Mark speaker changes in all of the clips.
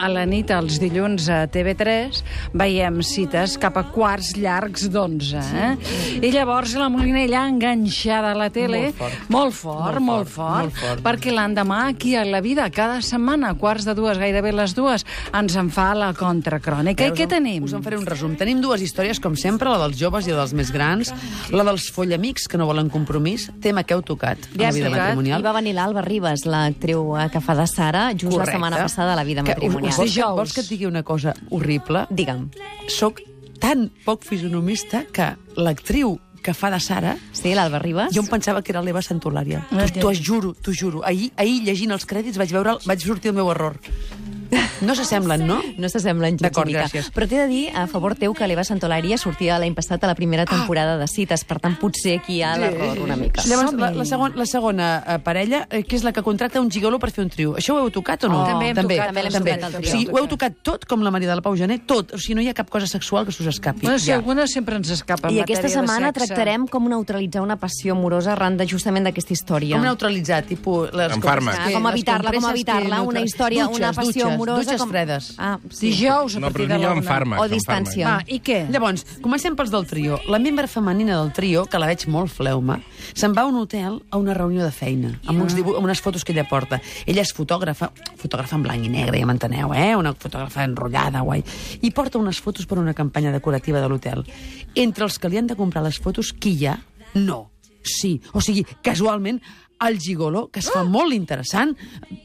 Speaker 1: A la nit, els dilluns a TV3, veiem cites cap a quarts llargs d'onze. Eh? I llavors la Molinella enganxada a la tele,
Speaker 2: Molt fort.
Speaker 1: molt fort, molt fort,
Speaker 2: molt fort.
Speaker 1: perquè l'endemà aquí a la vida, cada setmana, a quarts de dues, gairebé les dues, ens en fa la contracrònica. I què tenim?
Speaker 2: Us en faré un resum. Tenim dues històries, com sempre, la dels joves i la dels més grans, la dels follamics que no volen compromís, tema que heu tocat a
Speaker 1: Ja
Speaker 2: la
Speaker 1: has
Speaker 2: vida
Speaker 1: tocat.
Speaker 2: matrimonial.
Speaker 3: I va venir l'Alba Ribas, l'actriu eh, que fa de Sara, just
Speaker 2: Correcte.
Speaker 3: la setmana passada a la vida
Speaker 2: Que-
Speaker 3: matrimonial.
Speaker 2: Vols que,
Speaker 1: Dijous.
Speaker 2: vols que et digui una cosa horrible?
Speaker 3: Digue'm.
Speaker 2: Soc tan poc fisonomista que l'actriu que fa de Sara
Speaker 3: Sí, l'Alba Ribas?
Speaker 2: jo em pensava que era l'Eva Santolària.
Speaker 1: Ah,
Speaker 2: T'ho t'ho juro, t'ho juro. Ahir, ahir, llegint els crèdits, vaig veure, vaig sortir el meu error. No s'assemblen, no?
Speaker 3: No s'assemblen gens
Speaker 2: D'acord,
Speaker 3: ni mica.
Speaker 2: gràcies.
Speaker 3: Però t'he de dir, a favor teu, que l'Eva Santolària sortia l'any passat a la primera temporada de cites, per tant, potser aquí hi ha l'error una mica.
Speaker 2: Llavors, la, la, segon, la segona eh, parella, eh, que és la que contracta un gigolo per fer un trio. Això ho heu tocat o no?
Speaker 1: Oh, També hem
Speaker 2: també,
Speaker 1: tocat,
Speaker 3: també l'hem tocat, el
Speaker 2: O
Speaker 3: trio.
Speaker 2: sigui, ho heu tocat tot, com la Maria de la Pau Gené, tot. O sigui, no hi ha cap cosa sexual que se us escapi.
Speaker 1: Bueno, si alguna sempre ens escapa en
Speaker 3: I aquesta
Speaker 1: matèria de
Speaker 3: setmana
Speaker 1: sexe.
Speaker 3: tractarem com neutralitzar una passió amorosa arran de justament d'aquesta història.
Speaker 2: Com neutralitzar, tipus... Les
Speaker 4: Amb
Speaker 2: coses
Speaker 4: fàrmacs.
Speaker 2: que-
Speaker 3: Ah, com
Speaker 2: les
Speaker 3: evitar-la, com
Speaker 2: compresses que
Speaker 3: evitar-la, una
Speaker 2: neutralitzen.
Speaker 3: història,
Speaker 2: dutxes,
Speaker 3: una passió
Speaker 2: dutxes,
Speaker 3: amorosa
Speaker 2: Dutxes
Speaker 3: com-
Speaker 2: fredes.
Speaker 3: Ah, sí.
Speaker 1: Dijous, a
Speaker 4: No, però
Speaker 1: partir
Speaker 4: és
Speaker 1: de la
Speaker 4: millor amb
Speaker 1: una.
Speaker 4: fàrmacs.
Speaker 3: O
Speaker 4: amb
Speaker 3: distància.
Speaker 1: Va, i què?
Speaker 2: Llavors, comencem pels del trio. La membre femenina del trio, que la veig molt fleuma, se'n va a un hotel a una reunió de feina, amb, uns dibu amb unes fotos que ella porta. Ella és fotògrafa, fotògrafa en blanc i negre, ja m'enteneu, eh? Una fotògrafa enrotllada, guai. I porta unes fotos per una campanya decorativa de l'hotel. Entre els que li han de comprar les fotos, qui hi ha? No. Sí. O sigui, casualment, el gigolo, que es fa molt interessant...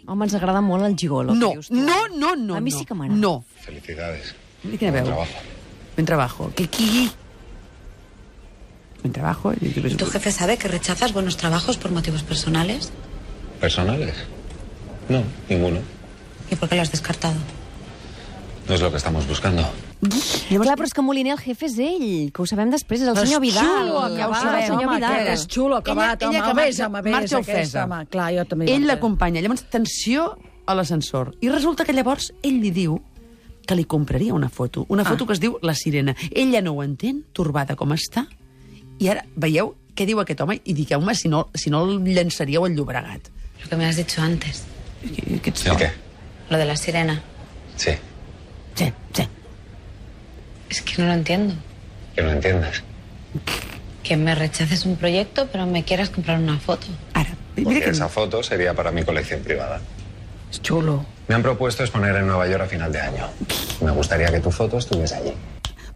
Speaker 3: Home, ens agrada molt el gigolo. Ah! que
Speaker 2: No,
Speaker 3: dius tu. eh?
Speaker 2: no, no, no.
Speaker 3: A mi sí que m'agrada.
Speaker 2: No.
Speaker 4: Felicidades.
Speaker 2: ¿Y qué me veo? Buen trabajo. ¿Qué, qué? Buen trabajo. eh, ¿Y qué
Speaker 5: ¿Tu jefe sabe que rechazas buenos trabajos por motivos personales?
Speaker 4: ¿Personales? No, ninguno.
Speaker 5: ¿Y por qué lo has descartado?
Speaker 4: No es lo que estamos buscando.
Speaker 3: Clar, però és que Moliner el jefe és ell, que ho sabem després, és el senyor
Speaker 1: És
Speaker 3: Vidal.
Speaker 1: Xulo,
Speaker 3: ja ho
Speaker 1: acabat,
Speaker 3: sabem, el senyor
Speaker 1: home,
Speaker 3: Vidal. Oh,
Speaker 1: que és xulo, acabat,
Speaker 2: Ella-
Speaker 1: home.
Speaker 2: ella que
Speaker 1: Ves,
Speaker 2: marxa-
Speaker 1: home, ves,
Speaker 2: marxa
Speaker 1: aquesta,
Speaker 2: ofesa.
Speaker 1: home. Clar, jo també hi
Speaker 2: Ell
Speaker 1: vaig.
Speaker 2: l'acompanya. Llavors, tensió a l'ascensor. I resulta que llavors ell li diu que li compraria una foto. Una foto que es diu La Sirena. Ella no ho entén, torbada com està. I ara veieu què diu aquest home i digueu-me si, no, si no el llançaríeu al Llobregat.
Speaker 5: Lo que me has dicho antes,
Speaker 2: Què- què ets
Speaker 4: ¿El
Speaker 2: tu?
Speaker 4: qué?
Speaker 5: lo de la sirena.
Speaker 4: Sí,
Speaker 2: Sí, sí.
Speaker 5: Es que no lo entiendo.
Speaker 4: que no entiendas.
Speaker 5: Que me rechaces un proyecto pero me quieras comprar una foto.
Speaker 2: Ara, mira
Speaker 4: Porque
Speaker 2: que...
Speaker 4: esa foto sería para mi colección privada.
Speaker 2: És xulo.
Speaker 4: Me han propuesto exponer en Nueva York a final de año. Me gustaría que tu foto estuviese allí.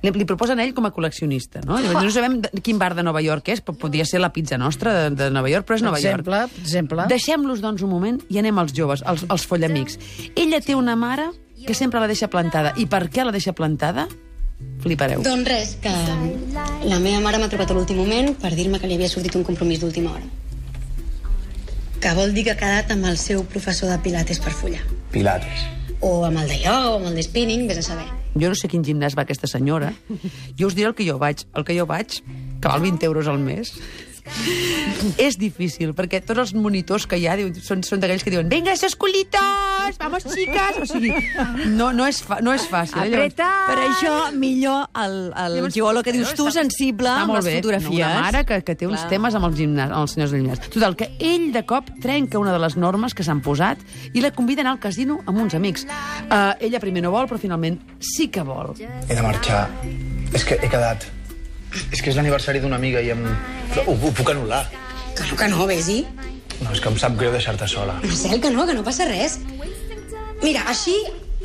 Speaker 2: Li, li proposen a ell com a col·leccionista, no? Llavors, no sabem de- quin bar de Nova York és, però podria ser la pizza nostra de, de Nova York, però és
Speaker 1: Per
Speaker 2: Nova
Speaker 1: exemple,
Speaker 2: York.
Speaker 1: per exemple.
Speaker 2: Deixem-los, doncs, un moment i anem als joves, als, als follamics. Ella té una mare que sempre la deixa plantada. I per què la deixa plantada? Flipareu.
Speaker 6: Doncs res, que la meva mare m'ha trucat a l'últim moment per dir-me que li havia sortit un compromís d'última hora. Que vol dir que ha quedat amb el seu professor de pilates per follar.
Speaker 4: Pilates.
Speaker 6: O amb el de ioga, o amb el de spinning, vés a saber.
Speaker 2: Jo no sé quin gimnàs va aquesta senyora. Jo us diré el que jo vaig. El que jo vaig, que val 20 euros al mes, és difícil, perquè tots els monitors que hi ha diu, són, són d'aquells que diuen «Venga, esos culitos! Vamos, chicas!» O sigui, no, no, és, fa, no és fàcil. eh? Llavors-
Speaker 1: Apreta!
Speaker 3: Ah, Per això, millor el, el
Speaker 2: Llavors,
Speaker 3: gigolo que dius
Speaker 2: està-
Speaker 3: tu, sensible,
Speaker 2: Està
Speaker 3: Ah, amb
Speaker 2: molt
Speaker 3: les
Speaker 2: bé.
Speaker 3: fotografies.
Speaker 2: Una mare que, que té uns temes amb els, gimnàs, amb els senyors del gimnàs. Total, que ell de cop trenca una de les normes que s'han posat i la convida a anar al casino amb uns amics. Uh, ella primer no vol, però finalment sí que vol.
Speaker 7: He de marxar. És que he quedat... És que és l'aniversari d'una amiga i em... Ho, ho puc anul·lar.
Speaker 6: Que no, que no, vés-hi.
Speaker 7: No, és que em sap greu deixar-te sola.
Speaker 6: Marcel, que no, que no passa res. Mira, així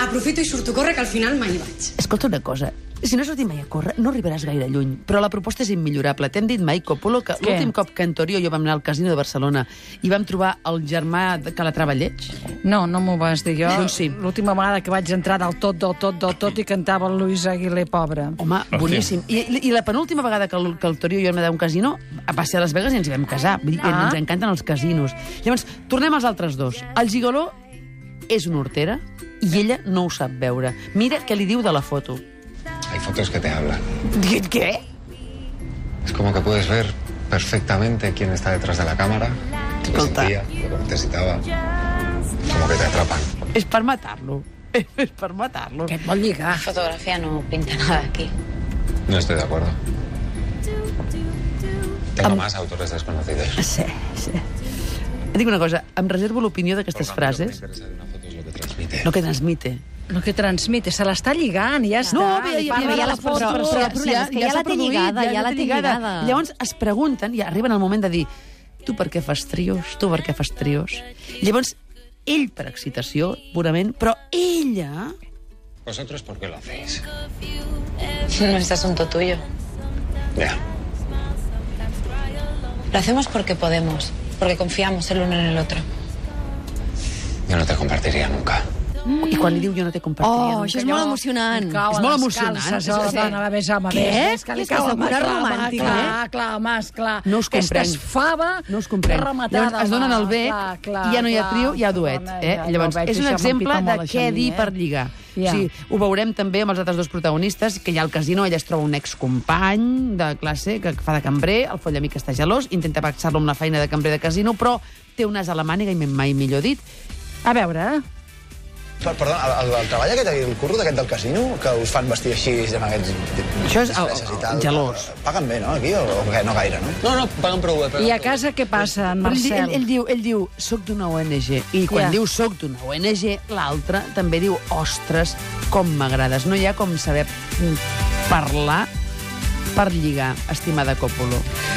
Speaker 6: aprofito i surto a córrer, que al final mai hi vaig.
Speaker 2: Escolta una cosa, si no sortim mai a córrer, no arribaràs gaire lluny. Però la proposta és immillorable. T'hem dit mai, Copolo, que l'últim cop que en Torio i jo vam anar al casino de Barcelona i vam trobar el germà de- que la treballeig,
Speaker 1: No, no m'ho vas dir jo.
Speaker 2: Doncs sí.
Speaker 1: Eh, L'última vegada que vaig entrar del tot, del tot, del tot i cantava el Luis Aguilé, pobre.
Speaker 2: Home,
Speaker 4: Hòstia.
Speaker 2: boníssim. I, I la penúltima vegada que el, que el Torio i jo vam anar a un casino va ser a Las Vegas i ens hi vam casar. Vull dir, que
Speaker 1: Ah.
Speaker 2: Ens encanten els casinos. Llavors, tornem als altres dos. El gigoló és una hortera i ella no ho sap veure. Mira què li diu de la foto.
Speaker 4: Hay fotos que te hablan.
Speaker 2: Dic, què?
Speaker 4: Es como que puedes ver perfectamente quién está detrás de la cámara, lo que
Speaker 2: Escolta.
Speaker 4: sentía, lo que necesitaba. Como que te atrapan.
Speaker 2: És per matar-lo. És per matar-lo.
Speaker 1: Què et vol lligar?
Speaker 5: La fotografía no pinta nada aquí.
Speaker 4: No estoy de acuerdo. Tengo más autores desconocidos.
Speaker 2: Sí, sí. Et dic una cosa, em reservo l'opinió d'aquestes
Speaker 4: Lo que
Speaker 2: frases,
Speaker 4: me interesa de una foto es lo que transmite.
Speaker 2: no que transmite.
Speaker 1: El que transmite, se l'està lligant, ja està.
Speaker 2: bé,
Speaker 1: I
Speaker 2: hi
Speaker 1: parla
Speaker 2: havia
Speaker 1: de
Speaker 3: la
Speaker 1: les
Speaker 3: foto,
Speaker 1: fotos.
Speaker 3: però- però- problema és que ja
Speaker 2: s'ha
Speaker 3: la té
Speaker 2: produït,
Speaker 3: lligada, ja la
Speaker 2: té
Speaker 3: té lligada.
Speaker 2: Llavors es pregunten, i arriben al moment de dir tu per què fas trios, tu per què fas trios. Llavors, ell per excitació, purament, però ella...
Speaker 4: ¿Vosotros por qué lo hacéis?
Speaker 5: No es asunto tuyo.
Speaker 4: Ya.
Speaker 5: Lo hacemos porque podemos, porque confiamos el uno en el otro.
Speaker 4: Yo no te compartiría nunca.
Speaker 2: Mm. I quan li diu jo no t'he compartit...
Speaker 3: Oh, això és molt emocionant.
Speaker 1: Cau a
Speaker 2: És molt
Speaker 1: les
Speaker 2: emocionant,
Speaker 1: Calces,
Speaker 2: això
Speaker 1: oh,
Speaker 2: sí.
Speaker 1: dona, la besa, home,
Speaker 3: Què?
Speaker 1: ves, que li
Speaker 3: Aquesta
Speaker 1: cau
Speaker 3: és
Speaker 1: la
Speaker 3: la
Speaker 1: mà,
Speaker 3: cura
Speaker 1: clar,
Speaker 3: romàntica,
Speaker 1: Clar, clar, home, esclar.
Speaker 2: eh? No us comprenc.
Speaker 1: Aquesta és fava
Speaker 2: No us comprenc.
Speaker 1: rematada.
Speaker 2: Llavors es donen el bec
Speaker 1: clar, clar,
Speaker 2: i ja no hi ha
Speaker 1: clar.
Speaker 2: trio, hi ha duet.
Speaker 1: Dona,
Speaker 2: Eh?
Speaker 1: ja, ja
Speaker 2: Llavors,
Speaker 1: ho veig,
Speaker 2: és un
Speaker 1: això
Speaker 2: exemple
Speaker 1: m'empica
Speaker 2: de
Speaker 1: molt, això
Speaker 2: què
Speaker 1: a mi,
Speaker 2: dir
Speaker 1: eh?
Speaker 2: per lligar.
Speaker 1: Ja.
Speaker 2: O sigui, ho veurem també amb els altres dos protagonistes, que hi ha al casino, ella es troba un excompany de classe que fa de cambrer, el follamic està gelós, intenta paxar-lo amb la feina de cambrer de casino, però té un as a la màniga, i mai millor dit.
Speaker 1: A veure, eh?
Speaker 8: Per, perdona, el, el, treball aquest, el curro d'aquest del casino, que us fan vestir així amb aquests...
Speaker 2: Això és el-
Speaker 8: disfresses i
Speaker 2: el-
Speaker 8: tal,
Speaker 2: gelós.
Speaker 8: Paguen bé, no, aquí? O, o què? No gaire, no?
Speaker 4: No, no, pagan prou bé.
Speaker 1: I a casa què passa, en
Speaker 2: Però ell,
Speaker 1: Marcel?
Speaker 2: ell, ell, diu, ell diu, soc d'una ONG. I quan
Speaker 1: Ja.
Speaker 2: diu soc d'una ONG, l'altre també diu, ostres, com m'agrades. No hi ha com saber mm, parlar per lligar, estimada Còpolo.